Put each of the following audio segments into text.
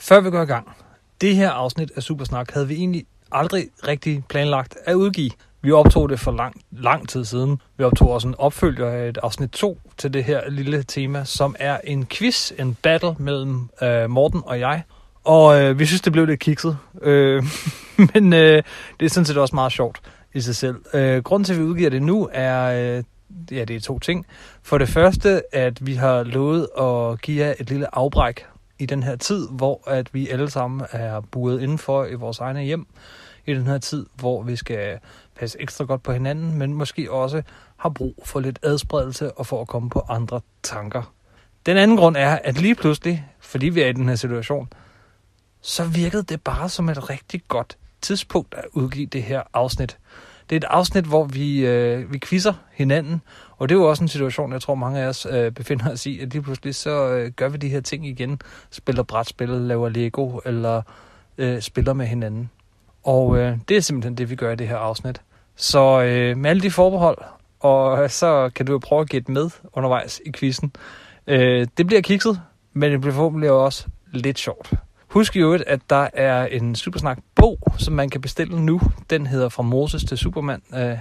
Før vi går i gang, det her afsnit af Supersnak havde vi egentlig aldrig rigtig planlagt at udgive. Vi optog det for lang, lang tid siden. Vi optog også en opfølger af et afsnit 2 til det her lille tema, som er en quiz, en battle mellem øh, Morten og jeg. Og øh, vi synes, det blev lidt kikset. Øh, men øh, det er sådan set også meget sjovt i sig selv. Øh, grunden til, at vi udgiver det nu, er, øh, ja, det er to ting. For det første, at vi har lovet at give jer et lille afbræk i den her tid, hvor at vi alle sammen er buret indenfor i vores egne hjem. I den her tid, hvor vi skal passe ekstra godt på hinanden, men måske også har brug for lidt adspredelse og for at komme på andre tanker. Den anden grund er, at lige pludselig, fordi vi er i den her situation, så virkede det bare som et rigtig godt tidspunkt at udgive det her afsnit. Det er et afsnit, hvor vi, øh, vi quizzer hinanden, og det er jo også en situation, jeg tror mange af os øh, befinder os i, at lige pludselig så øh, gør vi de her ting igen. Spiller brætspil, laver Lego, eller øh, spiller med hinanden. Og øh, det er simpelthen det, vi gør i det her afsnit. Så øh, med alle de forbehold, og øh, så kan du jo prøve at gætte med undervejs i quizzen. Øh, det bliver kikset, men det bliver forhåbentlig også lidt sjovt. Husk i øvrigt, at der er en Supersnak-bog, som man kan bestille nu. Den hedder Fra Moses til Superman. Øh,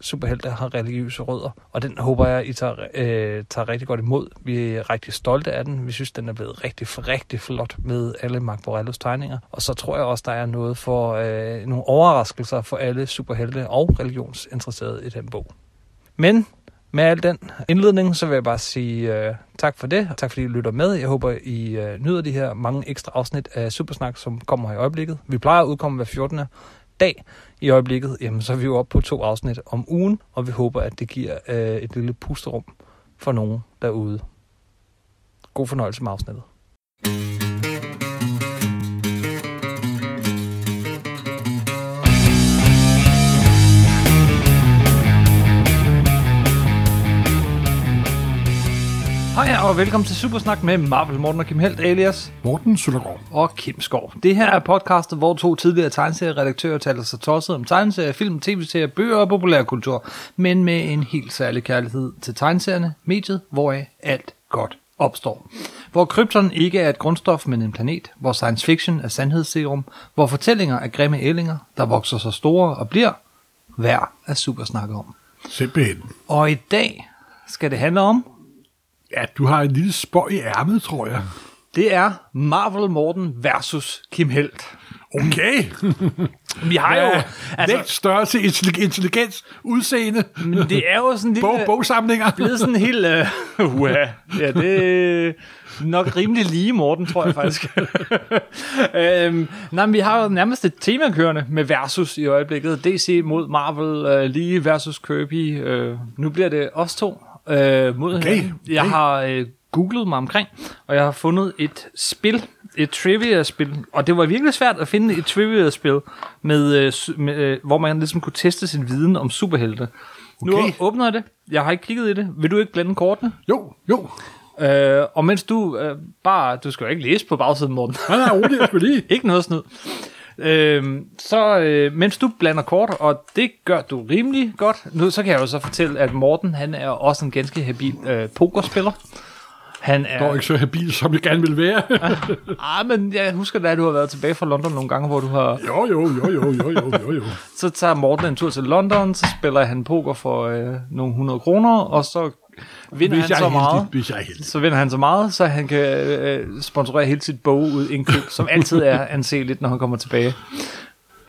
superhelte har religiøse rødder, og den håber jeg, I tager, øh, tager rigtig godt imod. Vi er rigtig stolte af den. Vi synes, den er blevet rigtig, rigtig flot med alle Mark Borellos tegninger. Og så tror jeg også, der er noget for øh, nogle overraskelser for alle superhelte og religionsinteresserede i den bog. Men med al den indledning, så vil jeg bare sige øh, tak for det. Tak fordi I lytter med. Jeg håber, I øh, nyder de her mange ekstra afsnit af Supersnak, som kommer her i øjeblikket. Vi plejer at udkomme hver 14. dag i øjeblikket. Jamen, så er vi jo oppe på to afsnit om ugen, og vi håber, at det giver øh, et lille pusterum for nogen derude. God fornøjelse med afsnittet. Hej og velkommen til Supersnak med Marvel Morten og Kim Helt alias Morten Søndergaard. og Kim Skov. Det her er podcastet, hvor to tidligere tegneserieredaktører taler sig tosset om tegneserier, film, tv-serier, bøger og populærkultur, men med en helt særlig kærlighed til tegneserierne, mediet, hvoraf alt godt opstår. Hvor krypton ikke er et grundstof, men en planet, hvor science fiction er sandhedsserum, hvor fortællinger er grimme ællinger, der vokser sig store og bliver værd at supersnakke om. Simpelthen. Og i dag skal det handle om Ja, du har en lille spøj i ærmet, tror jeg. det er Marvel Morten versus Kim Helt. Okay. Vi har jo... Ja, altså, Vægt, størrelse, intelli- intelligens, udseende, Men det er jo sådan lidt... bog, bogsamlinger. blevet sådan helt... Uh, uh, ja, det er nok rimelig lige, Morten, tror jeg faktisk. øhm, nej, men vi har jo nærmest et tema kørende med versus i øjeblikket. DC mod Marvel, uh, lige versus Kirby. Uh, nu bliver det os to uh, mod okay, hinanden. Jeg okay. har uh, googlet mig omkring, og jeg har fundet et spil, et trivia-spil, og det var virkelig svært at finde et trivia-spil, med, øh, su- med, øh, hvor man ligesom kunne teste sin viden om superhelte. Okay. Nu Okay. åbner jeg det. Jeg har ikke kigget i det. Vil du ikke blande kortene? Jo, jo. Øh, og mens du øh, bare... Du skal jo ikke læse på bagsiden, Morten. Han er rolig, jeg skulle lige. ikke noget snyd. Øh, så øh, mens du blander kort, og det gør du rimelig godt, nu så kan jeg jo så fortælle, at Morten han er også en ganske habil øh, pokerspiller. Han er... Og ikke så habil, som jeg gerne vil være. Ah, men jeg husker da, at du har været tilbage fra London nogle gange, hvor du har... Jo, jo, jo, jo, jo, jo, jo, jo. Så tager Morten en tur til London, så spiller han poker for øh, nogle 100 kroner, og så vinder Hvis han jeg så er meget. heldig, hvis jeg er heldig. Så vinder han så meget, så han kan øh, sponsorere hele sit bogudindkøb, som altid er anseligt, når han kommer tilbage.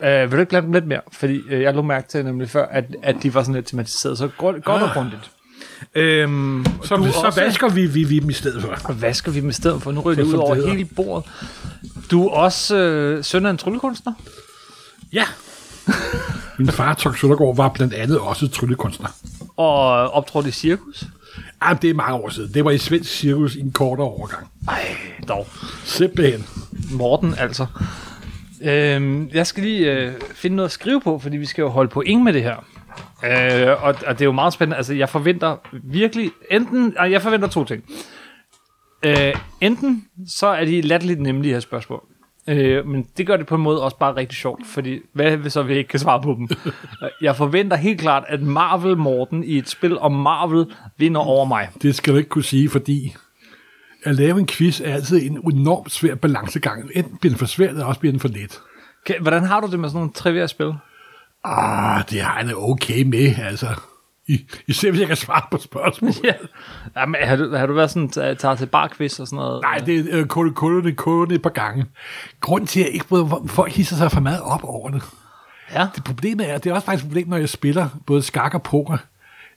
Øh, vil du ikke blande dem lidt mere? Fordi øh, jeg lå mærke til nemlig før, at, at de var sådan lidt tematiseret, så godt, godt og grundigt. Øhm, Ah. Så, du så også- vasker vi, vi, vi dem i stedet for. og hvad skal vi med stedet for? Nu ryger det ud Så som det over hedder. hele bordet. Du er også øh, søn af en tryllekunstner. Ja. Min far, Tom Søndergaard, var blandt andet også tryllekunstner. og optrådte i cirkus. Ah, det er mange år siden. Det var i svensk cirkus i en kortere overgang. Ej, dog. Simpelthen. Morten, altså. Øhm, jeg skal lige øh, finde noget at skrive på, fordi vi skal jo holde point med det her. Øh, og, og det er jo meget spændende. Altså, jeg forventer virkelig enten... Ej, jeg forventer to ting. Øh, enten så er de latterligt nemme, de her spørgsmål. Øh, men det gør det på en måde også bare rigtig sjovt, fordi hvad hvis så vi ikke kan svare på dem? jeg forventer helt klart, at Marvel Morten i et spil om Marvel vinder over mig. Det skal du ikke kunne sige, fordi at lave en quiz er altid en enormt svær balancegang. Enten bliver den for svær, eller også bliver den for let. Okay, hvordan har du det med sådan nogle trivia-spil? Ah, det har jeg det okay med, altså. I, især hvis jeg kan svare på spørgsmål. Ja. Jamen, har du, har du været sådan, t- tager til barquiz og sådan noget? Nej, det er øh, kun, kun, kun et par gange. Grunden til, at jeg ikke bryder, mig om, at folk hisser sig for meget op over det. Ja. Det problemet er, det er også faktisk et problem, når jeg spiller både skak og poker.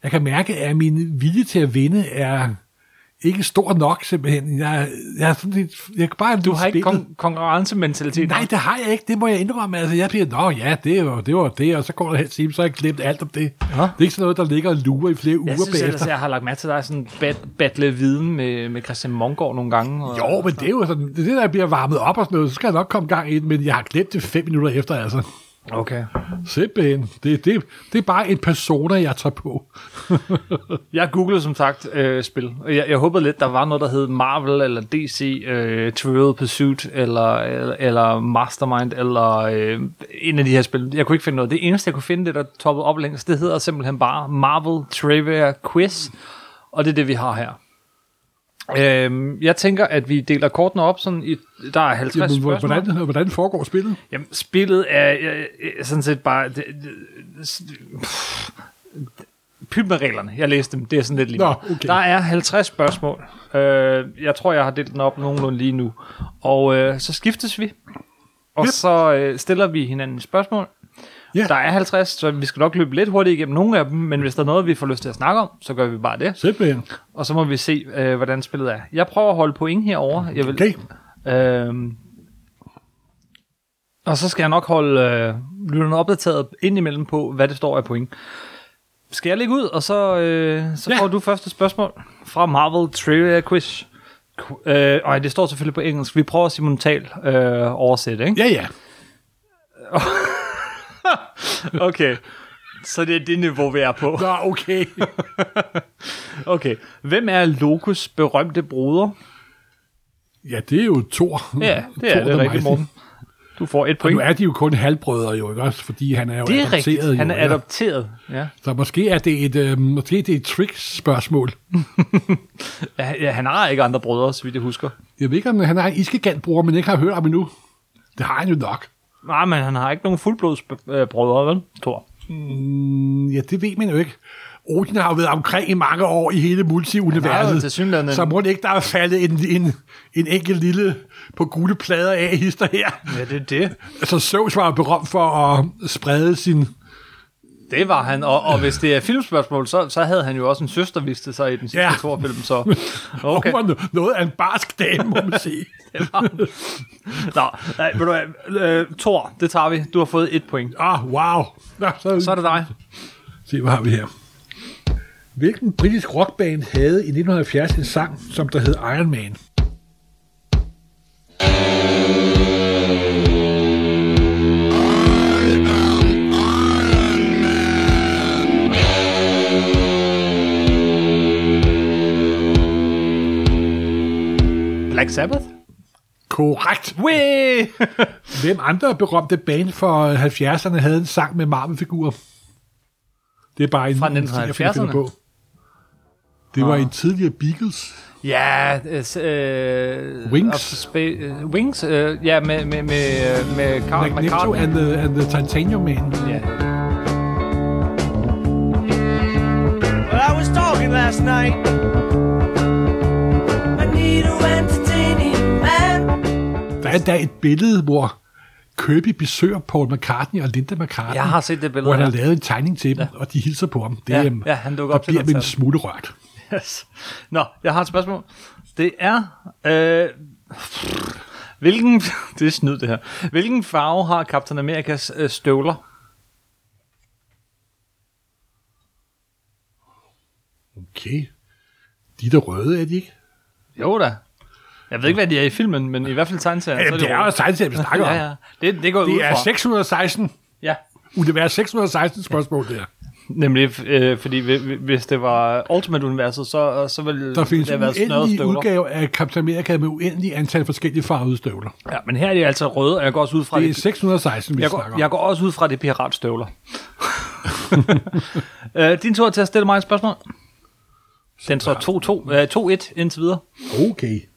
Jeg kan mærke, at min vilje til at vinde er ikke stor nok, simpelthen. Jeg, jeg, er sådan lidt, jeg kan bare Du har ikke kon- konkurrencementalitet? Nej, det har jeg ikke. Det må jeg indrømme. Altså, jeg bliver, nå ja, det var det, var det og så går der helt time, så har jeg glemt alt om det. Ja. Det er ikke sådan noget, der ligger og lurer i flere uger Jeg synes ellers, bagefter. jeg har lagt mærke til dig sådan bat- battle viden med, med Christian Mongård nogle gange. Og, Jo, men det er jo sådan, det er det, der bliver varmet op og sådan noget, så skal jeg nok komme gang i det, men jeg har glemt det fem minutter efter, altså. Okay. Simpelthen. Det, det, det er bare en persona, jeg tager på. Jeg googlede som sagt øh, spil. og Jeg, jeg håbede lidt, der var noget, der hed Marvel eller DC, øh, Trivial Pursuit eller, eller, eller Mastermind eller øh, en af de her spil. Jeg kunne ikke finde noget. Det eneste, jeg kunne finde, det der toppede op længst, det hedder simpelthen bare Marvel Trivia Quiz. Og det er det, vi har her. Øhm, jeg tænker, at vi deler kortene op sådan i, der er 50 Jamen, spørgsmål. hvordan, hvordan foregår spillet? Jamen, spillet er øh, øh, sådan set bare... Det, det, s- pff, pyt med reglerne. Jeg læste dem. Det er sådan lidt lige. Nå, meget. okay. Der er 50 spørgsmål. Øh, jeg tror, jeg har delt den op nogenlunde lige nu. Og øh, så skiftes vi. Og Yep. så øh, stiller vi hinanden spørgsmål. Ja. Der er 50, så vi skal nok løbe lidt hurtigt igennem nogle af dem, men hvis der er noget, vi får lyst til at snakke om, så gør vi bare det. Simpelthen. Og så må vi se, øh, hvordan spillet er. Jeg prøver at holde point herover. Jeg vil, Okay. Øhm, og så skal jeg nok holde øh, lytterne opdateret indimellem på, hvad det står af point. Skal jeg lægge ud, og så, øh, så Ja. ja. får du første spørgsmål fra Marvel Trivia Quiz. Qu- Øh, og det står selvfølgelig på engelsk. Vi prøver simultant øh, oversætte, ikke? Ja, ja. Okay. Så det er det niveau, vi er på. Nå, okay. Okay. Hvem er Lokus berømte bruder? Ja, det er jo Thor. Ja, det Thor er det the rigtigt, Mighty. Morten. Du får et Nu point. er de jo kun halvbrødre jo, ikke også? Fordi han er jo Det er adopteret. rigtigt. Han jo, er ja. adopteret. Ja. Så måske er det et, øh, måske det er et trick-spørgsmål. Ja, ja, han har ikke andre brødre, så vidt jeg husker. Jeg ved ikke, om han er en iskegantbror, men ikke har hørt om endnu. Det har han jo nok. Nej, men han har ikke nogen fuldblodsbrødre, vel, Thor? Mm, ja, det ved man jo ikke. Odin har jo været omkring i mange år i hele Han har jo multiuniverset. tilsyneladende en- Så må det ikke, der er faldet en, en, en enkelt lille på gule plader af hister her. Ja, det er det. Altså, Søvs var jo berømt for at sprede sin... Det var han, og, og hvis det er filmspørgsmål, så, så havde han jo også en søster, viste det sig i den sidste Ja. yeah. Thor-film, så... Okay. Okay. Hun var no- noget af en barsk dame, må man sige. Nå, nej, ved du hvad, øh, Thor, det tager vi. Du har fået et point. Ah, wow. Nå, så, Så er det dig. Se, hvad har vi her. Hvilken britisk rockband havde i 1970 en sang, som der hed Iron Man? Black Sabbath? Korrekt. Wee! Hvem andre berømte band for 70'erne havde en sang med Marvel-figurer? Det er bare en Fra en ting, jeg finder- finder 1970'erne? på. Det var en tidligere Beatles. ja, øh, s- øh, Wings. of Spa- øh, Wings, øh, ja, med, med, med, øh, med Carl Magneto McCartney. and the, and the Titanium Man. Ja. Well, I was talking last night. I need a entertaining man. Der er endda et billede, hvor Kirby besøger Paul McCartney og Linda McCartney. Jeg har set det billede Hvor han har her. lavet en tegning til dem, ja. og de hilser på ham. Det, Ja, øhm, ja, han dukker der op til bliver med en koncert. smule rørt. Yes. Nå, jeg har et spørgsmål. Det er... Øh, hvilken... Det er snyd, det her. Hvilken farve har Captain Amerikas øh, støvler? Okay. De er da røde, er de ikke? Jo da. Jeg ved ikke, hvad de er i filmen, men i hvert fald tegneserien. så Ja, Jamen, det er jo røde. også tegnet, vi snakker om. ja, ja. Det, det går ud Det er fra. 616, Ja, univers 616 spørgsmål der. nemlig, øh, fordi hvi- hvis det var Ultimate-universet, så, så ville Der findes det have været snørrede uendelige støvler. udgave af Captain America med uendelig antal forskellige farvede støvler. Ja, men her er de altså røde, og jeg går også ud fra, Det at er 616, vi Jeg snakker går, om. jeg går også ud fra, at det er piratstøvler. øh, din tur til at stille mig et spørgsmål. Den står 2-2, øh, 2-1 indtil videre. Okay.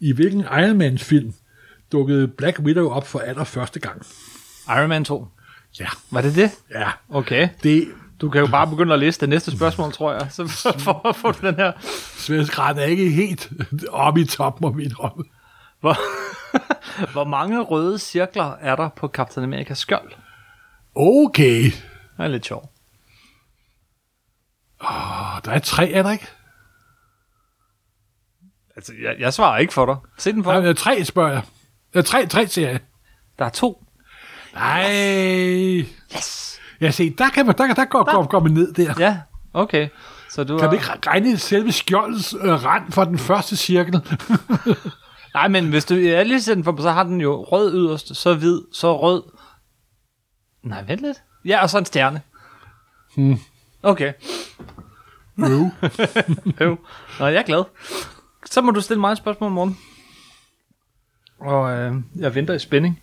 I hvilken Iron Mans film dukkede Black Widow op for allerførste gang? Iron Man 2. Ja, Var det det? ja. Okay. Det Du kan jo bare begynde at læse det næste spørgsmål, tror jeg. Så for at få den her... svenskeren er ikke helt oppe i toppen af min hånd. Hvor, hvor mange røde cirkler er der på Captain America's skjold? Okay. Det er lidt sjovt. Og der er tre, er der ikke? Altså, jeg, jeg svarer ikke for dig. Se den for Nej, dig. der er tre, spørger jeg. Der er tre, tre siger jeg. Der er to. Nej. Yes! Jeg ser, der kan man, der, kan- der går, går, går man ned der. Ja, okay. Så du Kan har... man ikke regne selve skjoldets øh, rand for den første cirkel? Nej, men hvis du er lige sætter den for, så har den jo rød yderst, så hvid, så rød. Nej, vent lidt. Ja, og så en stjerne. Hmm. Okay. Øv. Øv. Nå, jeg er glad. Så må du stille mig et spørgsmål i morgen. Og øh, jeg venter i spænding.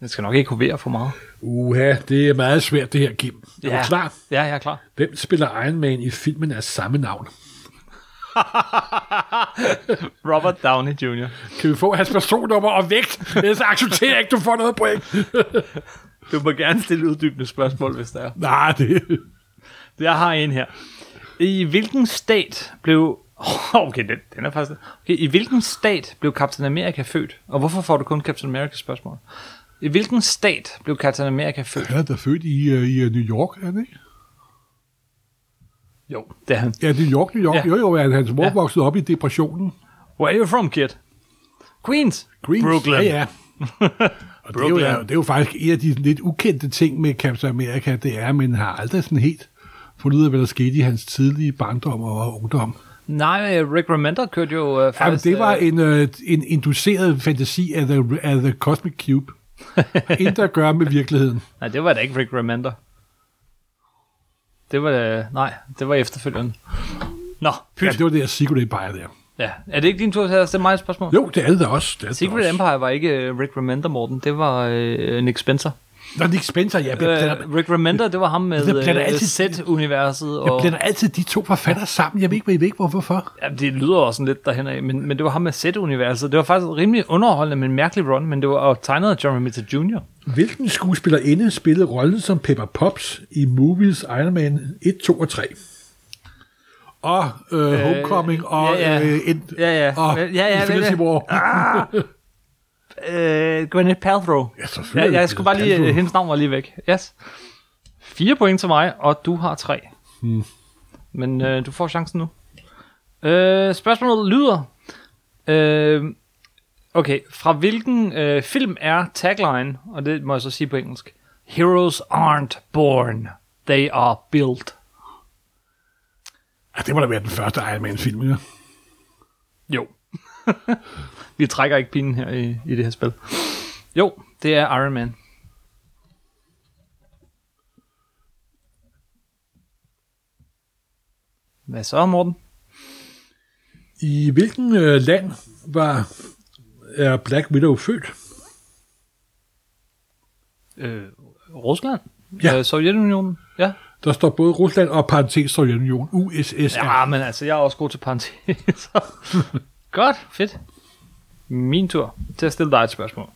Jeg skal nok ikke hovere for meget. Uha, det er meget svært det her, Kim. Er ja. du klar? Ja, jeg er klar. Hvem spiller Iron Man i filmen af samme navn? Robert Downey Jr. Kan vi få hans personnummer og vægt? Ellers accepterer jeg ikke, du får noget point. Du må gerne stille uddybende spørgsmål, hvis der er. Nej, det... Jeg har en her. I hvilken stat blev... Oh, okay, den, den er faktisk... Okay, I hvilken stat blev Captain America født? Og hvorfor får du kun Captain America spørgsmål? I hvilken stat blev Captain America født? Han er da født i, uh, i øh, New York, er han ikke? Jo, det er han. Ja, New York, New York. Ja. Ja. Jo, jo, han, hans mor Ja. ja. voksede op i depressionen. Where are you from, kid? Queens. Queens. Brooklyn. Ja, ja. Og det er, jo, Brooklyn. det er jo faktisk en af de lidt ukendte ting med Captain America, det er, at man har aldrig sådan helt fundet ud af, hvad der skete i hans tidlige barndom og ungdom. Nej, Rick Remender kørte jo øh, Jamen, faktisk... det var øh, en, øh, en induceret fantasi af the, af the Cosmic Cube. Intet at gøre med virkeligheden. Nej, det var da ikke Rick Remender. Det var... Øh, nej, det var efterfølgende. Nå, pyt. Ja, det var det her Secret Empire der. Ja. Er det ikke din tur til at stille mig et spørgsmål? Jo, det er det da også. Det er det Secret også. Empire var ikke øh, Rick Remender, Morten. Det var øh, Nick Spencer. Nå, Nick Spencer, ja. Jeg blander, Øh, Rick Remender, det var ham med Det blander øh, altid- Z-universet. jeg Og, blander altid de to forfatter sammen. Jeg ved ikke, jeg ved ikke hvor- hvorfor. ja, det lyder også sådan lidt derhen af, men, men det var ham med Z-universet. Det var faktisk rimelig underholdende, men en mærkelig run, men det var og tegnet af Jeremy Mitter Jr. Hvilken skuespillerinde spillede rollen som Pepper Pops i movies Iron Man 1, 2 og 3? Og øh, Homecoming og, ja, ja. Øh, en, Ja, ja. og Ja, ja, Infinity men- War. Øh, Gwyneth Paltrow. Ja, selvfølgelig. Ja, jeg skulle bare lige, øh, hendes navn var lige væk. Yes. Fire point til mig, og du har tre. Hmm. Men øh, du får chancen nu. Øh, spørgsmålet lyder... Øh, okay, fra hvilken øh, film er tagline, og det må jeg så sige på engelsk, Heroes aren't born, they are built. Ja, det må da være den første Iron Man-film, ja. Jo. Vi trækker ikke pinden her i, i det her spil. Jo, det er Iron Man. Hvad så, Morten? I hvilken øh, land var er Black Widow født? Øh, Rusland? Ja. Øh, Sovjetunionen? Ja. Der står både Rusland og parentes Sovjetunionen, USSR. Ja, men altså, jeg er også god til parenteser. Godt, fedt. Min tur til at stille dig et spørgsmål.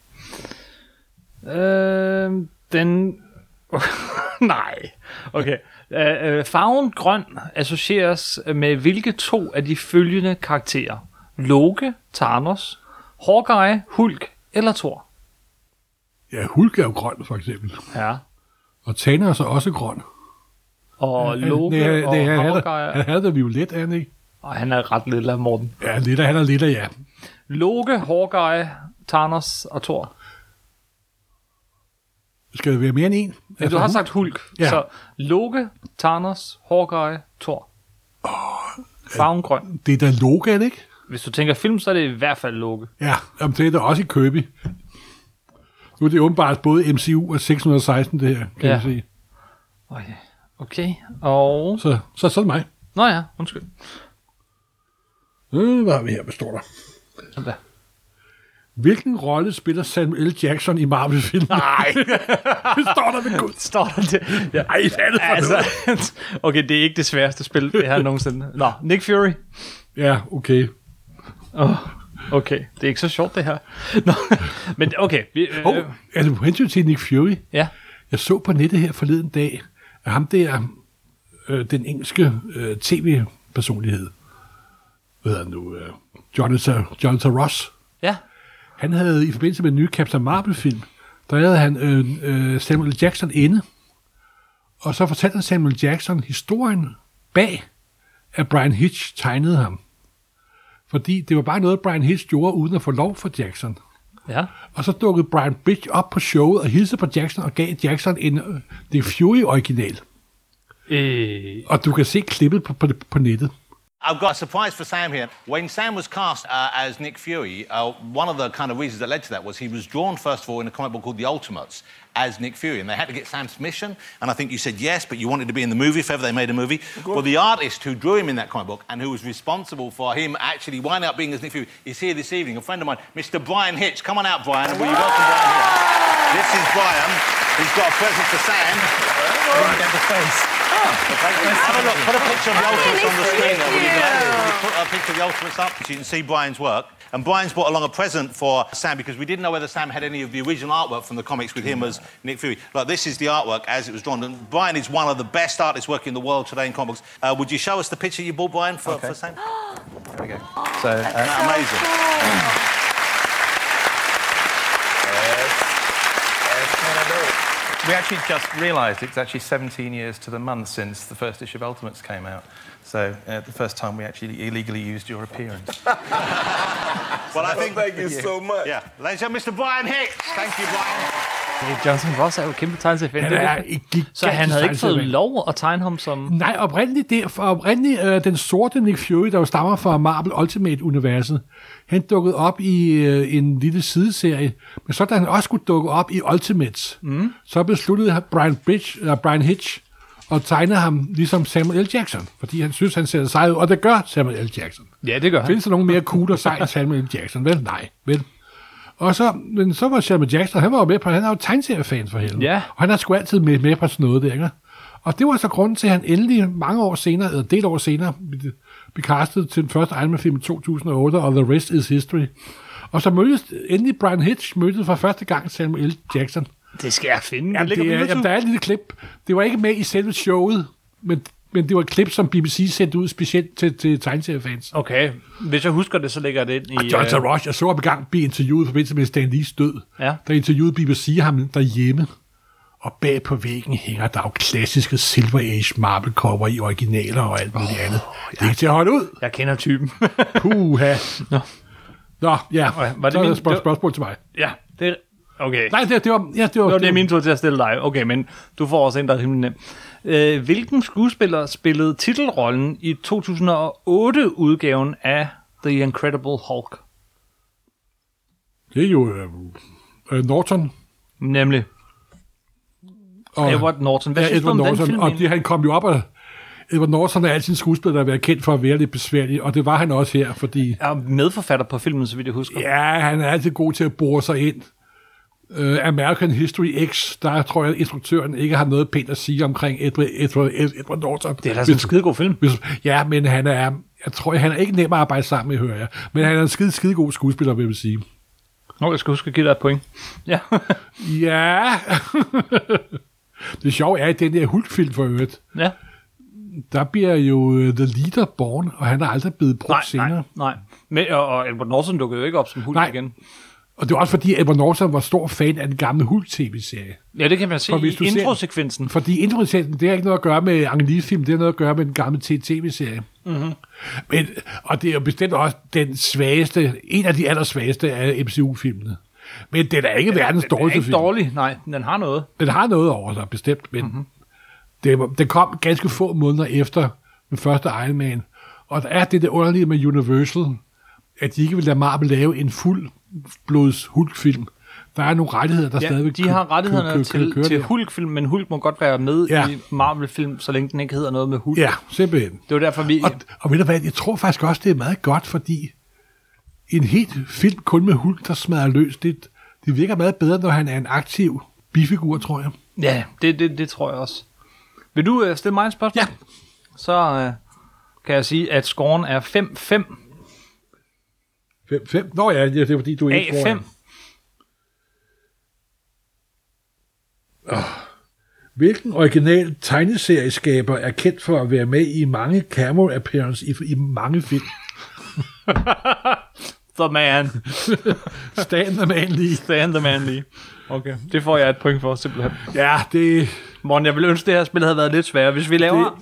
Øh, den... Nej. Okay. Øh, øh, farven grøn associeres med hvilke to af de følgende karakterer? Loke, Thanos, Hawkeye, Hulk eller Thor? Ja, Hulk er jo grøn, for eksempel. Ja. Og Thanos er også grøn. Og Loke det, og det, han, Hawkeye... havde, han havde da violet, er han ikke? Og han er ret lille af Morten. Ja, lidt af, han er lidt af, ja. Loke, Hawkeye, Thanos og Thor. Skal det være mere end en? Altså, Ja, du har sagt Hulk. Ja. Ja. Så Loke, Thanos, Hawkeye, Thor. Farven grøn. Det er da Loke, er det ikke? Hvis du tænker film, så er det i hvert fald Loke. Ja, jamen, det er der også i Købe. Nu er det åbenbart både MCU og 616, det her, kan Ja. ja. jeg sige. Okay. okay. Og... Så, så, så er det mig. Nå ja, undskyld. Øh, hvad har vi her, hvad står der? Sådan der. Hvilken rolle spiller Samuel L. Jackson i Marvel-filmen? Nej! det står der ved gud. Står der det? Ja. Ej, hvad er det for altså. Altså, okay, det er ikke det sværeste spil, det her nogensinde. Nå, Nick Fury. Ja, okay. Oh, okay, det er ikke så sjovt det her. Nå, men okay. Vi, øh, Åh, oh, altså på hensyn til Nick Fury, Ja, jeg så på nettet her forleden dag, at ham der, øh, den engelske øh, tv-personlighed, hvad hedder han nu, øh, Jonathan, Jonathan Ross, ja. han havde i forbindelse med den nye Captain Marvel-film, der havde han øh, øh, Samuel Jackson inde, og så fortalte Samuel Jackson historien bag, at Brian Hitch tegnede ham. Fordi det var bare noget, Brian Hitch gjorde, uden at få lov for Jackson. ja. Og så dukkede Brian Bridge op på showet og hilste på Jackson og gav Jackson en øh, The Fury-original. Øh, Og du kan se klippet på, på, på nettet. I've got a surprise for Sam here. When Sam was cast uh, as Nick Fury, uh, one of the kind of reasons that led to that was he was drawn, first of all, in a comic book called The Ultimates as Nick Fury. And they had to get Sam's permission. And I think you said yes, but you wanted to be in the movie if ever they made a movie. Well, the artist who drew him in that comic book and who was responsible for him actually winding up being as Nick Fury is here this evening. A friend of mine, Mr. Brian Hitch. Come on out, Brian. And will you welcome Brian here? This is Brian. He's got a present for Sam. Have a look. Put a picture of the Ultimates on the screen. there, will you, Glenn? We Put a picture of the Ultimates up so you can see Brian's work. And Brian's brought along a present for Sam because we didn't know whether Sam had any of the original artwork from the comics with him as Nick Fury. Look, this is the artwork as it was drawn. And Brian is one of the best artists working in the world today in comics. Uh, would you show us the picture you bought, Brian, for, for Sam? So, uh, Isn't that amazing? we actually just realised it's actually 17 years to the month since the first issue of Ultimates came out. So, uh, the first time we actually illegally used your appearance. Well, I think, Thank you so much. yeah. Ladies and gentlemen, Mr. Brian Hicks. Thank you, Brian. Johnson Ross er jo kæmpe tegnsefan. Han er et gigantisk Så han havde ikke fået tegnefilm. lov at tegne ham som... Nej, oprindeligt, det, for oprindeligt øh, den sorte Nick Fury, der jo stammer fra Marvel Ultimate-universet, han dukkede op i øh, en lille sideserie, men så da han også skulle dukke op i Ultimates, mm. så besluttede han- Brian, Bridge, eller Brian Hitch at tegne ham ligesom Samuel L. Jackson, fordi han synes, han ser sej ud, og det gør Samuel L. Jackson. Ja, det gør han. Findes der nogen mere cool og sej end Samuel L. Jackson? Vel, nej. Vel. Og så, men så var Samuel Jackson, han var jo med på, han er jo tegneseriefan for helvede. Ja. Og han er sgu altid med, med på sådan noget der, ikke? Og det var så grunden til, at han endelig mange år senere, eller del år senere, blev- blev castet til den første Iron Man film i 2008, og The Rest is History. Og så mødtes endelig Brian Hitch, mødte for første gang Samuel L. Jackson. Det skal jeg finde. Jamen, det, er, jamen, der er et lille klip. Det var ikke med i selve showet, men, men det var et klip, som BBC sendte ud specielt til, til tegneseriefans. Okay, hvis jeg husker det, så lægger jeg det ind i... Og Jonathan øh, Ross, jeg Ah, så ham i gang blive interviewet i forbindelse med Stan Lees død. Ja. Der interviewede BBC ham derhjemme. Og bag på væggen hænger der jo klassiske Silver Age marble cover i originaler og alt muligt oh, andet. Det er ikke til at holde ud. Jeg kender typen. Puha. Nå. Nå, ja. Okay, var det så min- er der det var- spørg- spørgsmål til mig. ja, det... Okay. Nej, det, det var... Ja, det var, Nå, det er min tur til at stille dig. Okay, men du får også en, der er rimelig nem. Øh, hvilken skuespiller spillede titelrollen i 2008-udgaven af The Incredible Hulk? Det er jo øh, øh, Norton. Nemlig Og, Edward Norton. Hvad ja, synes du Edward om den Norton. film? Og det, egentlig? han kom jo op og... Edward Norton er altid en skuespiller, der har været kendt for at være lidt besværlig, og det var han også her, fordi... Jeg er medforfatter på filmen, så vidt jeg husker. Ja, han er altid god til at bore sig ind. Uh, American History X, der tror jeg, at instruktøren ikke har noget pænt at sige omkring Edward, Edward, Edward Norton. Det er da sådan en skidegod film. Hvis, ja, men han er, jeg tror, han er ikke nem at arbejde sammen med, hører jeg. Men han er en skide, skide god skuespiller, vil jeg sige. Nå, jeg skal huske at give dig et point. Ja. Ja. det sjove er, at den der Hulk-film for øvrigt, ja. der bliver jo øh, The Leader born, og han er aldrig blevet brugt Nej, senere. nej, nej. Men, og, og Edward Norton dukkede jo ikke op som Hulk Nej. igen. Og det var også fordi, Edward Norton var stor fan af den gamle Hulk-tv-serie. Ja, det kan man se For hvis du i ser- introsekvensen. Fordi introsekvensen, det har ikke noget at gøre med Angelis-film, det har noget at gøre med den gamle TV-serie. Mm-hmm. Mhm. Men, og det er jo bestemt også den svageste, en af de allersvageste af MCU-filmene. Men den er ikke verdens Den er dårligste ikke film. Dårlig. dårlig, Mhm. nej. Den har noget. Den har noget over sig, bestemt, men mm-hmm. det, var- den kom ganske få måneder efter den første Iron Man. Og der er det der underlige med Universal, at de ikke vil lade Marvel lave en fuld blods Hulk-film. Der er nogle rettigheder, der Ja, stadigvæk de har rettighederne kø, kø, kø, kø, til, til der. Hulk-film, men Hulk må godt være med ja. Ja. i Marvel-film, så længe den ikke hedder noget med Hulk. Ja, simpelthen. Det var derfor, vi... Og, og ved du hvad, jeg tror faktisk også, det er meget godt, fordi en helt film kun med Hulk, der smadrer løs, det, det virker meget bedre, når han er en aktiv bifigur, tror jeg. Ja, det, det, det tror jeg også. Vil du øh, stille mig et spørgsmål? Ja. Så øh, kan jeg sige, at scoren er 5-5. 5, 5. Nå ja, det er, det er fordi, du er ikke tror, A5. at- Hvilken original tegneserieskaber er kendt for at være med i mange cameo appearance i, i mange film? The man. Staten er man lige. Stan the man lige. Okay, det får jeg et point for, simpelthen. Ja, det, Morten, jeg ville ønske, det her spil havde været lidt sværere. Hvis vi laver...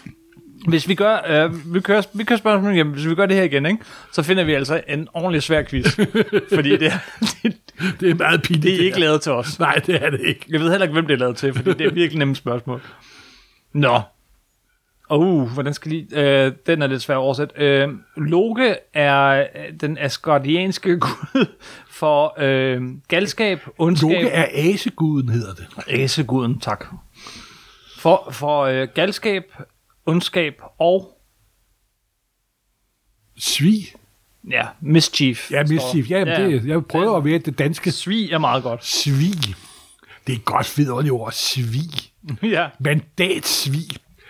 Hvis vi gør... Øh, vi, kører, vi kører spørgsmålet hjem. Hvis vi gør det her igen, ikke? så finder vi altså en ordentlig svær quiz. fordi det, det, det er meget pinligt. det er ikke her. lavet til os. Nej, det er det ikke. Jeg ved heller ikke, hvem det er lavet til, fordi det er virkelig nemme spørgsmål. Nå. Og uh, hvordan skal lige... Øh, den er lidt svær at oversætte. Øh, Loke er øh, den asgardianske gud for øh, galskab, ondskab... Loke er aseguden, hedder det. Æseguden, tak. For, for øh, galskab, ondskab og Svig. ja, mischief. Ja, mischief. Ja, Ja, ja. Det, jeg prøver at være det danske Svig er meget godt. svig. Det er et godt fedt ord, svig. ja. Mandatsvig.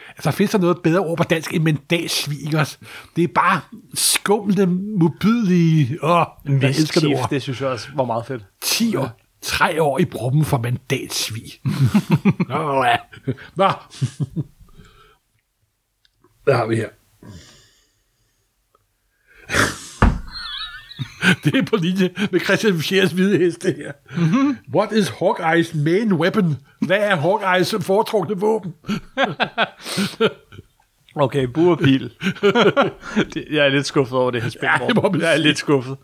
Altså, findes der noget bedre ord på dansk end mandatsvig, ikke også? Det er bare skumle, modbydelige... Åh, jeg elsker det ord. det synes jeg også var meget fedt. 10 år, tre år i proppen for mandatsvig. Nå, ja. Nå. Hvad har vi her? det er på linje med Christian Fiers hvide hest, det her. Mhm. Mm-hmm. What is Hawkeye's main weapon? Hvad er Hawkeye's foretrukne våben? Okay, bur og pil. Det- jeg er lidt skuffet over det her spil. Ja, det må Morten. man jeg er sige. lidt skuffet.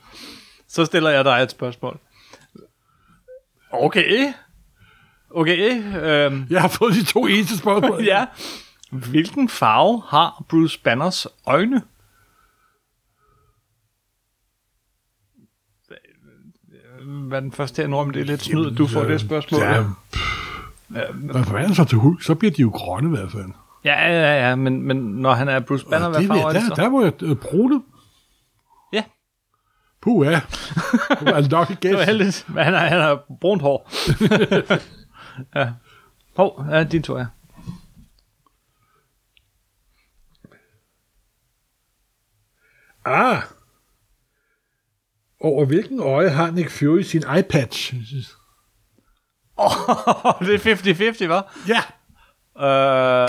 Så stiller jeg dig et spørgsmål. Okay. Okay. Øhm, Jeg har fået de to eneste spørgsmål. ja. Hvilken farve har Bruce Banners øjne? Hvad er den første her, Norm? Det er lidt snyd, at du får det spørgsmål. øh, Ja. Hvad fanden så til Hulk? Så bliver de jo grønne i hvert fald. ja, ja, ja men, men når han er Bruce Banner, hvad Ah, det, ved farve er jeg- det der, så? der var jeg øh, brune. Ja, Puh, ja. Det var nok et det var gæst. heldigt. Men han har, han har brunt hår. ja. Hov, ja, din tur, ja. Ah. Over hvilken øje har Nick Fury sin iPad? det er 50-50, var. Ja, Øh,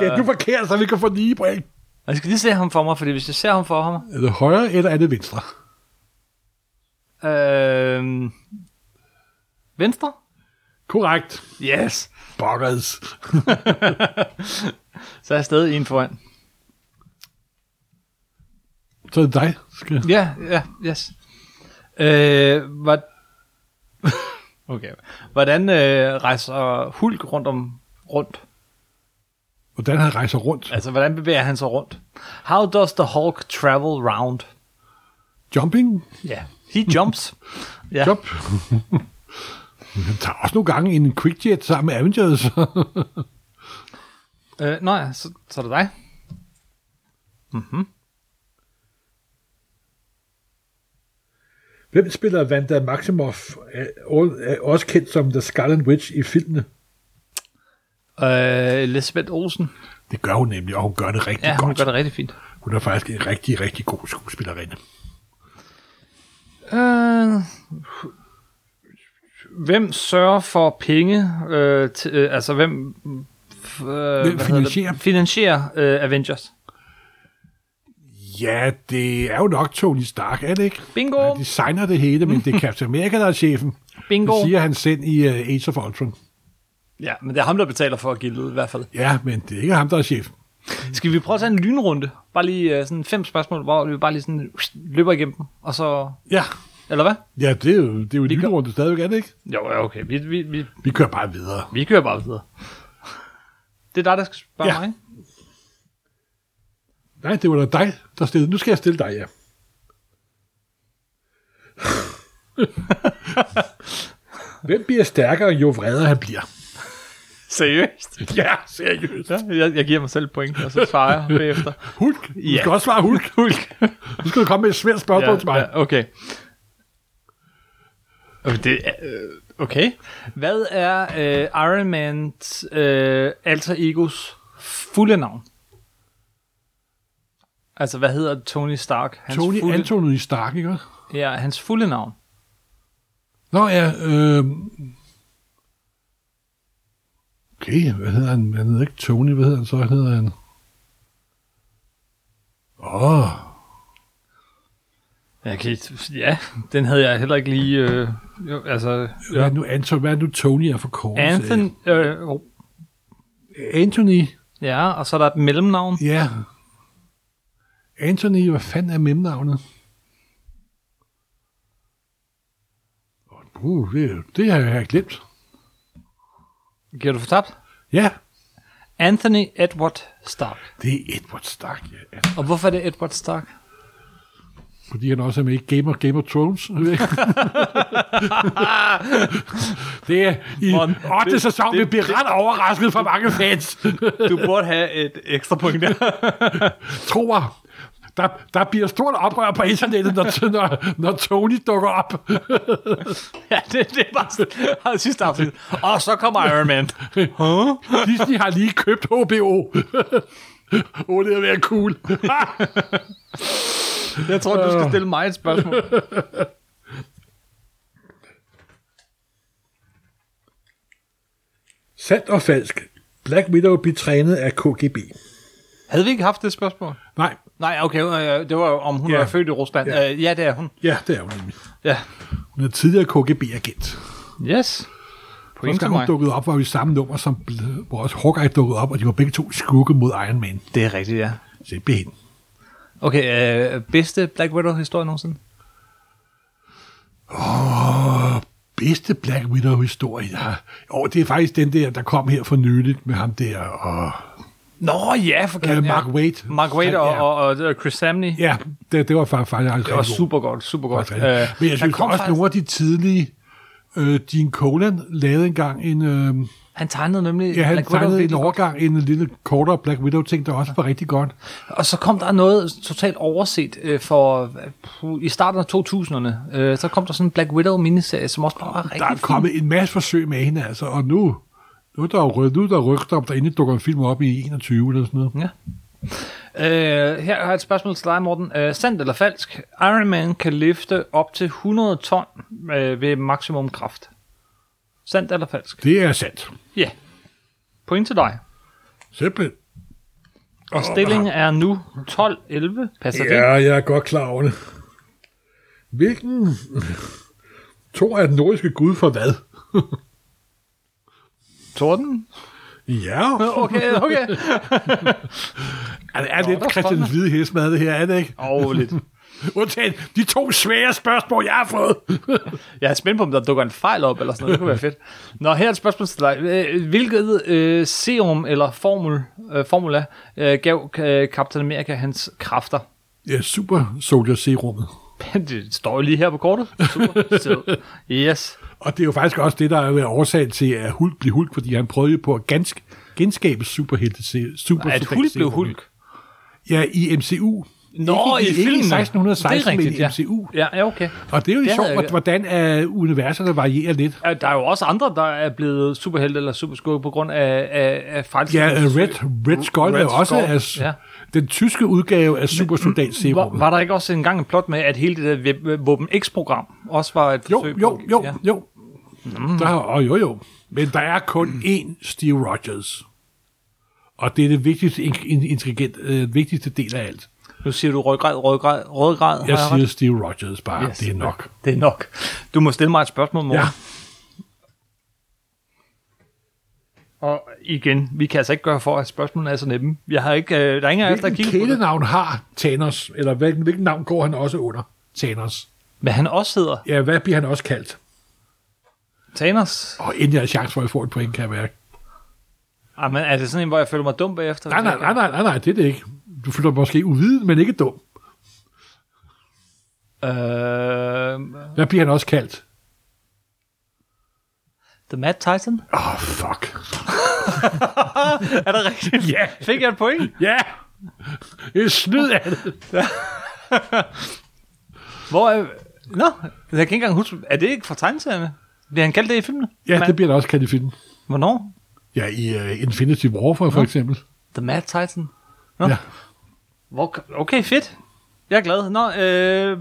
ja du forkert, så vi kan få lige point. og jeg skal lige se ham for mig, fordi hvis jeg ser ham for ham... Er det højre, eller er det venstre? Øh, venstre? Korrekt. Yes. Boggers. Så er jeg stadig en foran. Så er det dig. Skal... Ja, ja, yes. Øh, hvad... okay. Hvordan øh, rejser Hulk rundt om rundt? Hvordan han rejser rundt. Altså, hvordan bevæger han sig rundt? How does the Hulk travel round? Jumping. Ja, yeah. he jumps. ja. Jump. han tager også nogle gange en quickjet sammen med Avengers. Øh, nå ja, så, så er det dig. Hvem spiller Vanda Maximoff, er, er også kendt som The Scarlet Witch i filmene? Øh, Elisabeth Olsen. Det gør hun nemlig, og hun gør det rigtig Ja, hun godt. gør det rigtig fint. Hun er faktisk en rigtig, rigtig god skuespillerinde. Øh, hvem sørger for penge? Øh, til, øh, altså, hvem... f- Øh, hvad hedder det? finansierer? Finansierer øh, Avengers. Ja, det er jo nok Tony Stark, er det ikke? Bingo. Han designer det hele, men det er Captain America, der er chefen. Bingo. Det siger han selv i uh, Age of Ultron. Ja, men det er ham, der betaler for at give det ud, i hvert fald. Ja, men det er ikke ham, der er chefen. Skal vi prøve at tage en lynrunde? Bare lige øh, sådan fem spørgsmål, hvor vi bare lige sådan pst, løber igennem dem, og så... Ja, Eller hvad? ja det er jo, det er jo en gør- lynrunde stadigvæk, er det ikke? Jo, ja, okay. Vi, vi, vi, Vi kører bare videre. vi kører bare videre. Det er dig, der skal spørge Ja. mig, ikke? Nej, det var da dig, der stillede. Nu skal jeg stille dig, ja. Hvem bliver stærkere, jo vredere han bliver? Seriøst? Ja, seriøst. Ja, jeg, jeg giver mig selv point, og så svarer jeg bagefter. Hulk. Du Ja. skal også svare Hulk. Hulk. Nu skal du komme med et svært spørgsmål til mig. ja, okay. Okay, Det er, øh, okay. Hvad er øh, Iron Man's øh, alter egos fulde navn? Altså, hvad hedder Tony Stark? Hans Tony fulde, Anthony Stark, ikke også? Ja, hans fulde navn. Nå ja, øh... Okay, hvad hedder han? Han hedder ikke Tony, hvad hedder han så? Han hedder han... Åh, oh, Jeg kan, ja, den havde jeg heller ikke lige... Øh, jo, altså, ja. hvad, er nu, Anton, hvad er nu Tony er for kort? Anthony... Øh, oh, Anthony, ja, og så er der et mellemnavn. ja. Anthony, hvad fanden er mellemnavnet? Uh, det, det har jeg glemt. Giver du for tabt? Ja, Anthony Edward Stark. det er Edward Stark, ja. Og hvorfor er det Edward Stark? Fordi han også er med i Game of, Game of Thrones. det er i Mon, 8. sæson, vi bliver ret overrasket fra mange fans. Du burde have et ekstra point der. Tror der, der bliver stort oprør på internettet, når, når, når Tony dukker op. ja, det, det er bare sådan, sidste afsnit. Og så kommer Iron Man. Disney har lige købt HBO. Åh, oh, det har været cool. Jeg tror, du skal stille mig et spørgsmål. Sandt og falsk. Black Widow bliver trænet af KGB. Havde vi ikke haft det spørgsmål? Nej, Nej, okay, øh, det var jo, om hun Ja. yeah. er født i Rusland. Ja. Yeah. Øh, ja, det er hun. ja, det er hun nemlig. Ja. Hun er tidligere KGB-agent. Yes. Point Første til gang hun mig. dukkede op, var vi i samme nummer, som, bl- hvor også Hawkeye dukkede op, og de var begge to i skugge mod Iron Man. Det er rigtigt, ja. Simpelthen. Okay, øh, bedste Black Widow-historie nogensinde? Bedste Black Widow-historie, jeg har... Og det er faktisk den der, der kom her for nyligt med ham der, og Nå ja, for øh, kan Mark Waid. Mark Waid og, Ja, og, og, og Chris Samney. Yeah. Ja, det, det var faktisk, faktisk rigtig Det var Øh, god. super godt, super godt. Faktisk rigtig. Men jeg synes også, nogle af de tidlige... Øh, Gene Colan lavede engang en... Øh, han tegnede nemlig ja, han Black Widow tegnede en virkelig godt. overgang, en lille kortere Black Widow-ting, der også var rigtig godt. Og så kom der noget totalt overset øh, for øh, puh, i starten af 2000'erne. Øh, så kom der sådan en Black Widow miniserie, som også bare var rigtig Der er fin. kommet en masse forsøg med hende, altså, og nu, nu er der jo ry- nu er der rygter om, der endelig dukker en film op i 21 eller sådan noget. Ja. Øh, her har jeg et spørgsmål til dig, Morten. Øh, sandt eller falsk? Iron Man kan løfte op til 100 ton øh, ved maksimum kraft. Sandt eller falsk? Det er sandt. Ja. Yeah. Point til dig. Simpelthen. Og stillingen er nu 12-11. Passer det? Ja, jeg er godt klar over det. Hvilken Thor er den nordiske gud for hvad? Torden? Ja, Okay, okay. altså, er lidt Christian Hvide hestmad, det her, er det ikke? Åh, oh, lidt. Undtagen de to svære spørgsmål, jeg har fået. Jeg er spændt på, om der dukker en fejl op, eller sådan noget. Det kunne være fedt. Nå, her er et spørgsmål til dig. Øh, Hvilket øh, serum eller formul, øh, formula øh, gav øh, Captain America hans kræfter? Ja, super soldier serummet. det står jo lige her på kortet. Super. Så, yes. Og det er jo faktisk også det, der er været årsagen til, at Hulk blev Hulk, fordi han prøvede på at ganske genskabe superhelte super At Hulk blev Hulk. Ja, i MCU. Nå, ikke, i ikke filmen. 1616, Det er rigtigt, men i MCU. Ja, ja okay. Og det er jo Det det sjovt, havde jeg- jeg... hvordan uh, universerne varierer lidt. Øh, Der er jo også andre, der er blevet superhelte eller superskurke på grund af, af, af fejl. Ja, øh, Red, Red Skull Red Red er også Skull, as, ja. ja. den tyske udgave af Supersoldat Var, Serum. var der ikke også engang en plot med, at hele det der væb- Våben X-program også var et Jo, forsøg jo, på... jo, jo. Mm. Der, og jo, jo. Men der er kun én Steve Rogers. Og det er det vigtigste, in- in- intelligent, øh, vigtigste del af alt. Nu siger du rødgrad, rødgrad, rødgrad. Jeg har ret? siger Steve Rogers bare, Yes. yes. det er nok. Det er nok. Du må stille mig et spørgsmål, mor. Ja. Og igen, vi kan altså ikke gøre for, at spørgsmålene er så nemme. Jeg har ikke, øh, der er ingen af os, der Hvilken kigger på det. kælenavn har Thanos? Eller hvilken, hvilken navn går han også under? Thanos. Men han også hedder Ja, hvad bliver han også kaldt? Thanos. Og inden jeg har chance for, at jeg får et point, kan jeg være. Ej, Ah, men er det sådan en, hvor jeg føler mig dum bagefter? Nej, nej, nej, nej, nej, nej det er det ikke. Du føler dig måske uviden, men ikke dum. Øh, Hvad bliver han også kaldt? The Mad Titan? Åh, oh, fuck. Er det rigtigt? Ja. Fik jeg et point? Ja! Det er snyd af det. Hvor er... Nå, jeg kan ikke engang huske... Er det ikke fra tegneserierne? Bliver han kaldt det i filmene? Ja, Ma- det bliver der også kaldt i filmen. øh, Hvornår? Ja, i uh, Infinity War for, for eksempel. The Mad Titan? Nå. Ja. Hvor, okay, fedt. Jeg er glad. Nå, øh,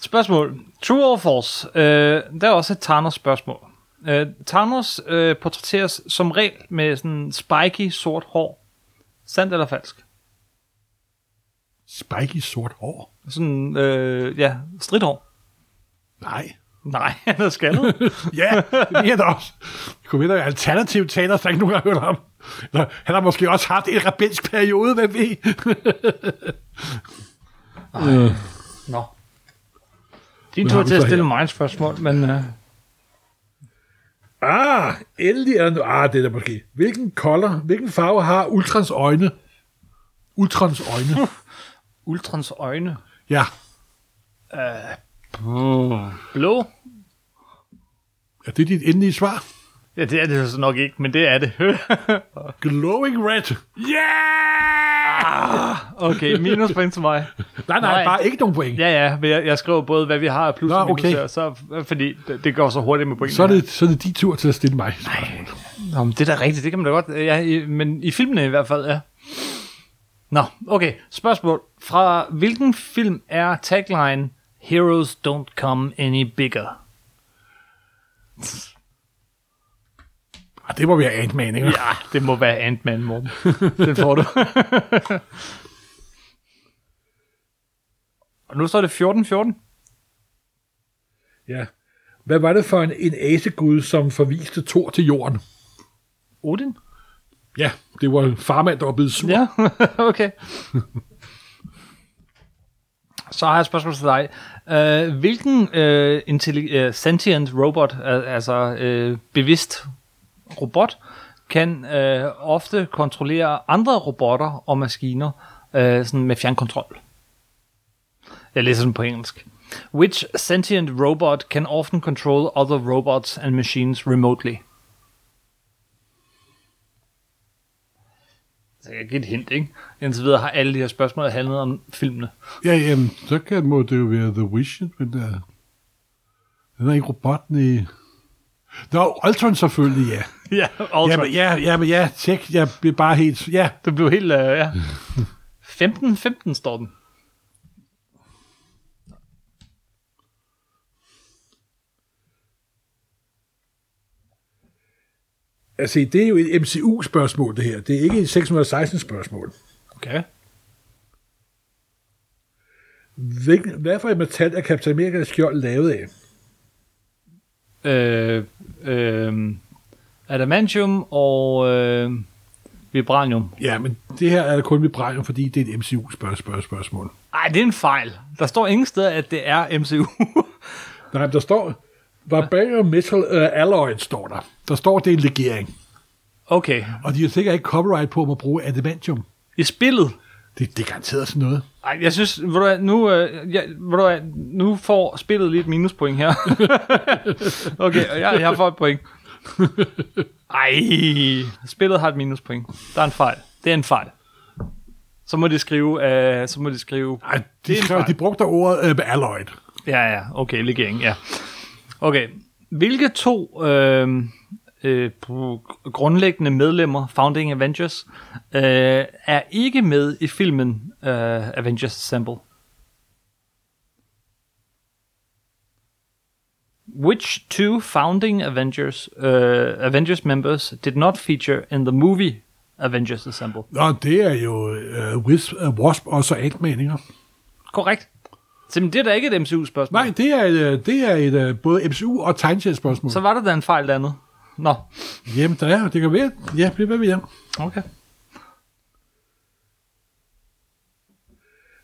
spørgsmål. True or false? Øh, der er også et Thanos-spørgsmål. Øh, Thanos øh, portrætteres som regel med sådan spiky sort hår. Sandt eller falsk? Spike i sort hår? Sådan, øh, ja, stridhår. Nej. Nej, han er skaldet. Ja, det er det også. Jeg kunne vide, at alternativ taler, der ikke nogen har hørt om. Eller, han har måske også haft en rebelsk periode, hvad ved. Nå. Din tur har vi til at så her? stille mig et spørgsmål, men... Øh, Ah, endelig er der noget. Ah, det er der måske. Hvilken color, hvilken farve har Ultrans øjne? Ultrans øjne. Ultrons øjne. Ja, Blå? er det dit endelige svar? Ja, det er det så nok ikke, men det er det. Glowing red. Ah, okay, minus point til mig. Nej, nej, Nej. nej. bare ikke nogen point. Ja, ja, men jeg, jeg skriver både, hvad vi har af plus Nå, og minus okay. her, så, fordi det, det går så hurtigt med pointene. Så er, det, så er det din tur til at stille mig. Nej. Nå, men det er da rigtigt, det kan man da godt. Ja, i, men i filmene i hvert fald, ja. Nå, okay. Spørgsmål. Fra hvilken film er tagline Heroes don't come any bigger? Ah, det må være Ant-Man, ikke? Ja, det må være Ant-Man, Morten. Den får du. og nu står det 14-14. Ja. Hvad var det for en, en asegud, som forviste Thor til jorden? Odin? Ja, det var en farmand, der var blevet sur. Ja, okay. Så har jeg et spørgsmål til dig. Uh, hvilken uh, intelli- uh, sentient robot, uh, altså uh, bevidst robot, kan uh, ofte kontrollere andre robotter og maskiner uh, sådan med fjernkontrol? Jeg læser den på engelsk. Which sentient robot can often control other robots and machines remotely? Så Altså, jeg kan give et hint, ikke? Indtil videre har alle de her spørgsmål handlet om filmene. Ja, jamen, så kan, må det jo være The Wish, men uh, den er ikke robotten i... Nå, Ultron selvfølgelig, ja. Ja, Ultron. Ja, men ja, ja, men ja, tjek, jeg blev bare helt... Ja, Det blev helt, uh, ja. 15-15 står den. altså det er jo et MCU-spørgsmål, det her. Det er ikke et 616-spørgsmål. Okay. Hvilken, hvad for et metal er Captain America's skjold lavet af? Øh, øh, adamantium og øh, vibranium. Ja, men det her er kun vibranium, fordi det er et MCU-spørgsmål. Ej, det er en fejl. Der står ingen steder, at det er MCU. Nej, men der står... Barbarian Metal uh, Alloy står der. Der står, det er en legering. okay. Og de har sikkert ikke copyright på, at man bruger adamantium. I spillet. Det, det er garanteret sådan noget. Ej, jeg synes, ved du hvad, nu, øh, jeg, ved du hvad, nu får spillet lidt minuspoint her. okay, og jeg, jeg får et point. Ej, spillet har et minuspoint. Der er en fejl. Det er en fejl. Så må de skrive, øh, så må de skrive, Ej, de, er en skrev, fejl. de brugte ordet øh, alloy. ja ja, okay, legering, ja. Okay, hvilke to øh, øh, gr- grundlæggende medlemmer, Founding Avengers, øh, er ikke med i filmen øh, Avengers Assemble? Which two founding Avengers uh, Avengers members did not feature in the movie Avengers Assemble? Nå, det er jo øh, Wisp, øh, Wasp og så Ant-Man, ikke? Korrekt. Så men det er da ikke et MCU-spørgsmål. Nej, det er, et, øh, det er et, øh, både MCU og tegnetidsspørgsmål. Så Så... var der da en fejl andet. Nå, Jamen, der er, det kan være. Ja, det er, hvad vi er. okay.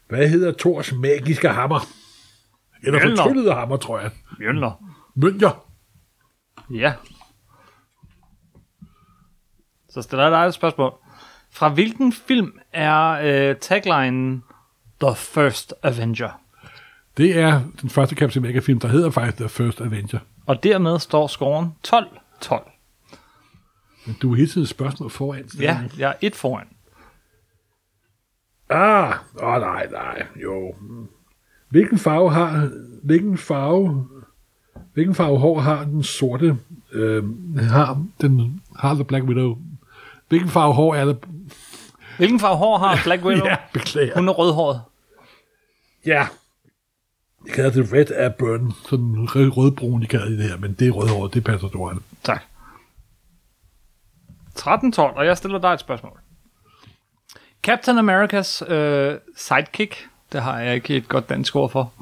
Hvad hedder Thors magiske hammer? Eller Mjølner. fortryllede hammer, tror jeg. Mjølner. Mønjer. Ja. Så stiller jeg dig et spørgsmål. Fra hvilken film er øh, taglinen The First Avenger? Det er den første Captain America-film, der hedder faktisk The First Avenger. Og dermed står scoren 12-12. Men du er hele tiden et spørgsmål foran. Ja, jeg er et foran. Ah, åh oh, nej, nej, jo. Hvilken farve har, hvilken farve, hvilken farve hår har den sorte, øh, har, den, har The Black Widow? Hvilken farve hår er der? Hvilken farve hår har Black Widow? Ja, beklager. Hun er rødhåret. Ja. Jeg kalder det Red af Burn. Sådan rød- rødbrun, de kalder det her, men det er rødhåret, det passer du an. Tak. 13-12, og jeg stiller dig et spørgsmål. Captain Americas øh, sidekick, det har jeg ikke et godt dansk ord for,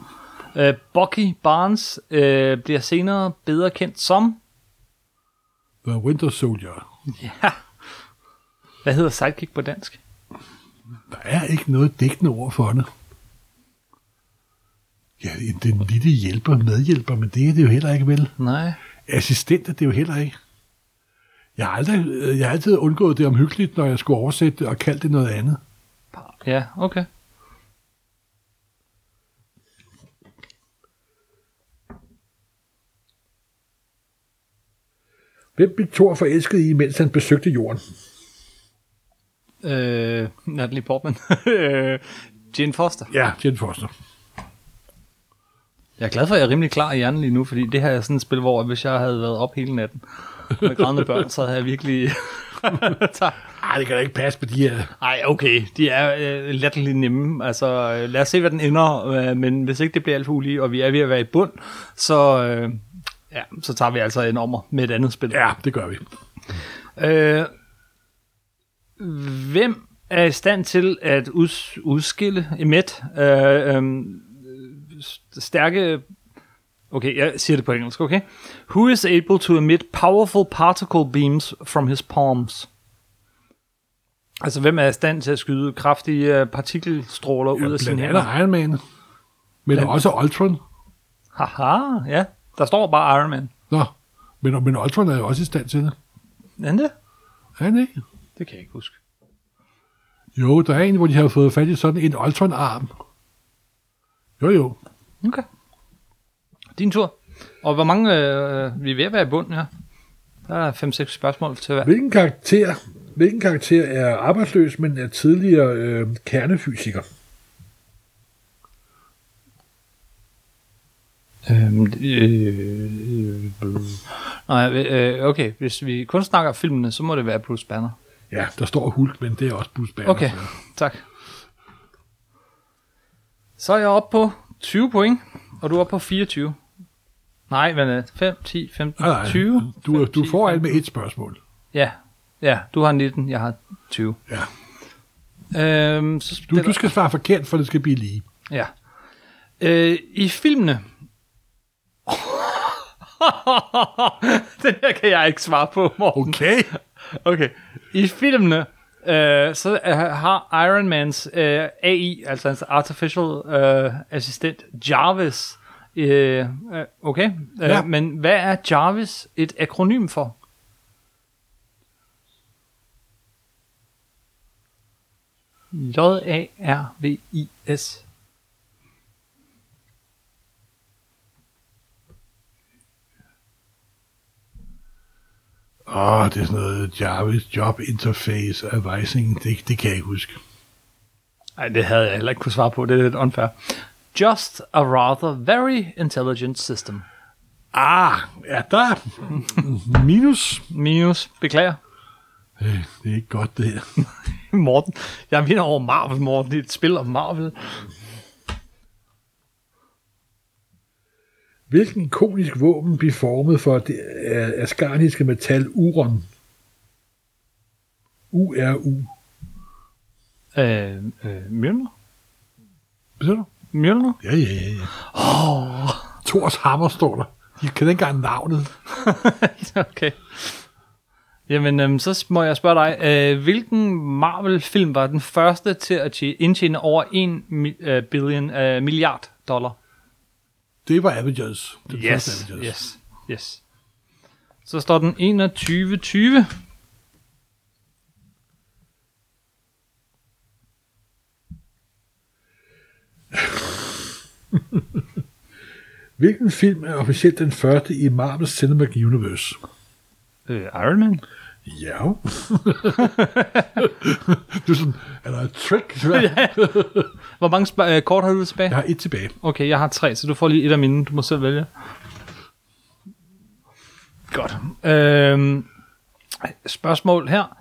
øh, Bucky Barnes øh, bliver senere bedre kendt som... The Winter Soldier. Ja. Hvad hedder sidekick på dansk? Der er ikke noget dækkende ord for det. Ja, det er en lille hjælper, medhjælper, men det er det jo heller ikke vel. Nej. Assistent er det jo heller ikke. Jeg har, aldrig, øh, jeg har altid undgået det omhyggeligt, når jeg skulle oversætte det og kalde det noget andet. Ja, okay. Hvem blev Thor forelsket i, mens han besøgte jorden? Øh, Natalie Portman. øh, Jane Foster. Ja, Jen Foster. Jeg er glad for, at jeg er rimelig klar i hjernen lige nu, fordi det her er sådan et spil, hvor hvis jeg havde været op hele natten med grædende børn, så havde jeg virkelig... Tak. Ej, det kan da ikke passe på de her... Ej, okay. De er øh, latterligt nemme. Altså, øh, lad os se, hvad den ender. Øh, men hvis ikke det bliver alt for ulige, og vi er ved at være i bund, så, øh, ja, så tager vi altså en ommer med et andet spil. Ja, det gør vi. Øh, hvem er i stand til at uds- udskille Emmet? Øh, øh, stærke... Okay, jeg siger det på engelsk, okay? Who is able to emit powerful particle beams from his palms? Altså, hvem er i stand til at skyde kraftige øh, partikelstråler ja, ud af sine Blandt hænder? andet Iron Man. Men også Ultron. Haha, ja. Der står bare Iron Man. Nå, men, men Ultron er jo også i stand til det. Er han det? Er han ikke? Det kan jeg ikke huske. Jo, der er en, hvor de har fået fat i sådan en Ultron-arm. Jo, jo. Okay. Din tur. Og hvor mange... Øh, vi er ved at være i bunden her. Der er 5-6 spørgsmål til hver. Hvilken karakter, hvilken karakter er arbejdsløs, men er tidligere øh, kernefysiker? Øhm, øh, øh, nej, øh, okay, hvis vi kun snakker filmene, så må det være Bruce Banner. Ja, der står Hulk, men det er også Bruce Banner. Okay, tak. Så er jeg oppe på 20 point, og du er oppe på 24. Nej, men 5, 10, 15, Nej, nej, 20. Du, Fem, du ti, får fem. alt med et spørgsmål. Ja, ja, du har 19, jeg har 20. Ja. Øhm, så Du, spiller- du skal svare forkert, for det skal blive lige. Ja. Øh, I filmene... Den her kan jeg ikke svare på, Morten. Okay. Okay. I filmene, øh, så øh, har Iron Mans øh, AI, altså hans artificial øh, assistent, Jarvis. Øh, øh, okay. Øh, Ja. Men hvad er Jarvis et akronym for? J-A-R-V-I-S. Åh, det er sådan noget Jarvis Job Interface Advising. Det, det kan jeg ikke huske. Nej, det havde jeg heller ikke kunne svare på. Det er lidt unfair. Just a rather very intelligent system. Ah, ja, der er minus. Minus, beklager. Øh, Det er ikke godt, det her. Morten. Jeg vinder over Marvel, Morten. Det er et spil om Marvel. Hvilken konisk våben blev formet for det øh, askarniske metal uron? URU. Øh, øh, Mjølner? Hvad siger du? Mjølner? Ja, ja, ja. ja. Oh. Thors hammer står der. De kan ikke engang navnet. okay. Jamen, øhm, så må jeg spørge dig. Øh, hvilken Marvel-film var den første til at tje- indtjene over 1 mi- øh, billion, øh, milliard dollar? Det var Avengers. Den første Avengers. yes, yes. Så står den 21-20. Hvilken film er officielt den første i Marvel Cinematic Universe? Øh, Iron Man? Ja. du er sådan, er der et trick? Hvor mange sp- øh, kort har du tilbage? Jeg har et tilbage. Okay, jeg har tre, så du får lige et af mine. Du må selv vælge. Godt. Øhm, spørgsmål her.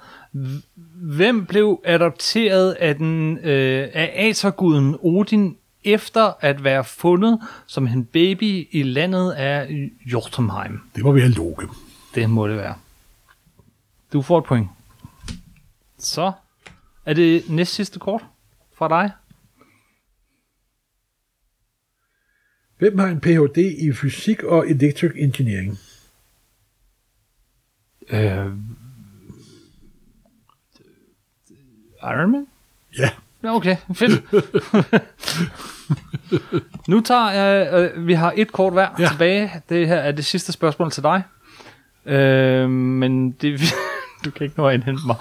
Hvem blev adopteret af, den, øh, af aserguden Odin efter at være fundet som en baby i landet af Jotunheim? Det må være Loke. Det må det være. Du får et point. Så er det næst sidste kort fra dig. Hvem har en Ph.D. i fysik og electric engineering? Øh, Iron Man? Ja. Nå, Okay, fedt. nu tager jeg... Øh, vi har et kort hver ja. Ja. tilbage. Det her er det sidste spørgsmål til dig. Øh, men det... du kan ikke nå at indhente mig.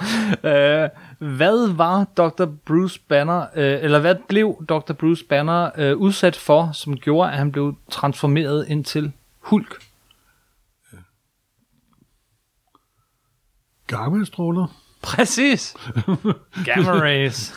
Øh, hvad var Dr. Bruce Banner... Øh, eller hvad blev Dr. Bruce Banner øh, udsat for, som gjorde, at han blev transformeret ind til Hulk? Gammelstråler? Præcis! Gamma rays.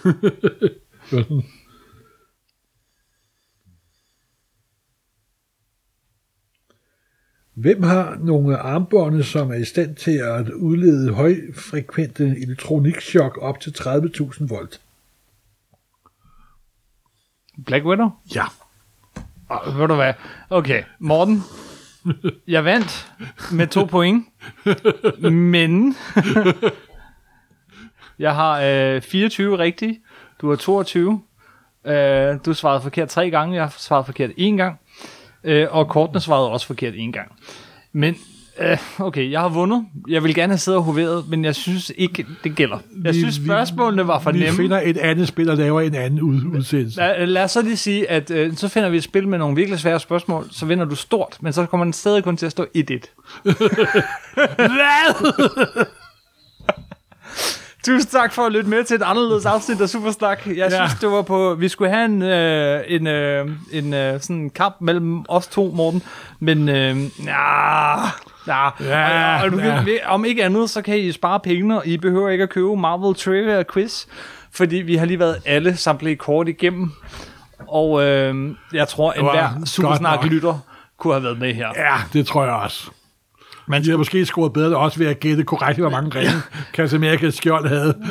Hvem har nogle armbånde, som er i stand til at udlede højfrekvente elektronikchok op til 30.000 volt? Black Widow? Ja. Oh, ved du hvad? Okay, Morten, jeg vandt med to point, men jeg har øh, 24 rigtige, du har 22, øh, du svarede forkert tre gange, jeg svarede forkert én gang, øh, og kortene svarede også forkert én gang. Men øh, okay, jeg har vundet, jeg vil gerne have siddet og hoveret, men jeg synes ikke, det gælder. Jeg Vi- synes vi- spørgsmålene var for Vi nemme. finder et andet spil og laver en anden ud- udsendelse. Lad, lad os så lige sige, at øh, så finder vi et spil med nogle virkelig svære spørgsmål, så vinder du stort, men så kommer den stadig kun til at stå 1-1. Hvad? Tusind tak for at lytte med til et anderledes afsnit af Supersnak. Jeg ja. synes, det var på... Vi skulle have en, øh, en, øh, en øh, sådan en kamp mellem os to, Morten. Men øh, nah, nah. Ja, og, og, du kan, ja. ved- om ikke andet, så kan I spare penge, og I behøver ikke at købe Marvel Trivia Quiz, fordi vi har lige været alle samtlige kort igennem. Og øh, jeg tror, at var hver godt Supersnak-lytter kunne have været med her. Ja, det tror jeg også. Man har måske scoret bedre også ved at gætte korrekt, hvor mange ringe Casamerikas skjold havde.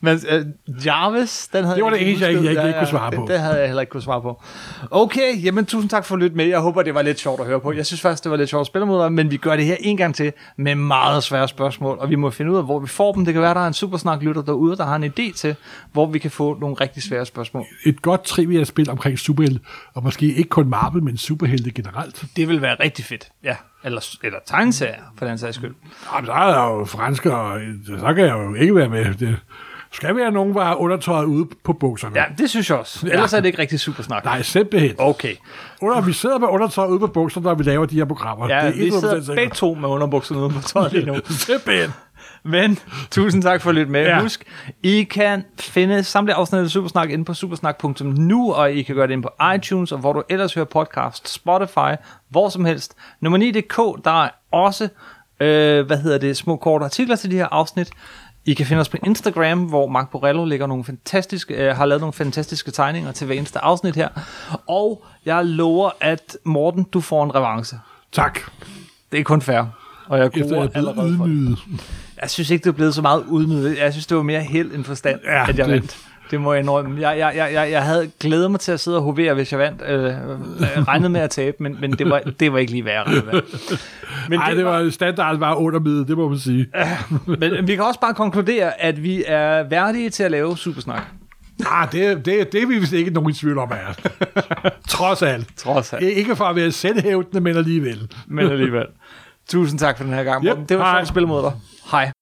Men øh, Jarvis, den havde Det var det eneste, jeg ikke- husket. jeg ikke kunne svare på. Det, det havde jeg heller ikke kunne svare på. Okay, jamen tusind tak for at lytte med. Jeg håber, det var lidt sjovt at høre på. Jeg synes faktisk, det var lidt sjovt at spille mod dig, men vi gør det her en gang til med meget svære spørgsmål, og vi må finde ud af, hvor vi får dem. Det kan være, der er en supersnak-lytter derude, der har en idé til, hvor vi kan få nogle rigtig svære spørgsmål. Et godt trivia-spil omkring superhelte, og måske ikke kun Marvel, men superhelte generelt. Det vil være rigtig fedt. Ja, eller, eller tegneserier, for den sags skyld. Jamen, så er der jo fransker, og så kan jeg jo ikke være med. Det skal være nogen, der har undertøjet ude på bukserne. Ja, det synes jeg også. Ellers er det ikke rigtig supersnak. Nej, simpelthen. Okay. Under, vi sidder med undertøjet ude på bukserne, når vi laver de her programmer. Ja, det er vi 100% sidder sikkert. begge to med underbukserne ude på tøjet lige nu. Simpelthen. Men tusind tak for at lytte med. Ja. Ja. Husk, I kan finde samtlige afsnit af Supersnak inde på supersnak.nu, og I kan gøre det inde på iTunes, og hvor du ellers hører podcast, Spotify, hvor som helst. Nummer 9.dk, der er også, øh, hvad hedder det, små korte artikler til de her afsnit. I kan finde os på Instagram, hvor Mark Borello ligger nogle fantastiske, øh, har lavet nogle fantastiske tegninger til hver eneste afsnit her. Og jeg lover, at Morten, du får en revanche. Tak. Det er kun fair. Og jeg Efter gruer jeg er blevet allerede for det. ydmyget. Jeg synes ikke, det er blevet så meget udnyttet. Jeg synes, det var mere held end forstand, ja, at Ja, jeg det. det- vandt. Det må jeg indrømme. Jeg, jeg, jeg, jeg, jeg havde glædet mig til at sidde og hovere, hvis jeg vandt. Øh, øh, regnet med at tabe, men, men det, var, det var ikke lige værd. Men, Ej, det var standard var under middel, det må man sige. men vi kan også bare konkludere, at vi er værdige til at lave Supersnak. Ah, det, det, det er vi vist ikke nogen i tvivl om, er. Trods alt. Trods alt. Ik- Ikke for at være selvhævdende, men alligevel. Men alligevel. Tusind tak for den her gang. Yep, Morten. Det var hej. sjovt at spille mod dig. Hej.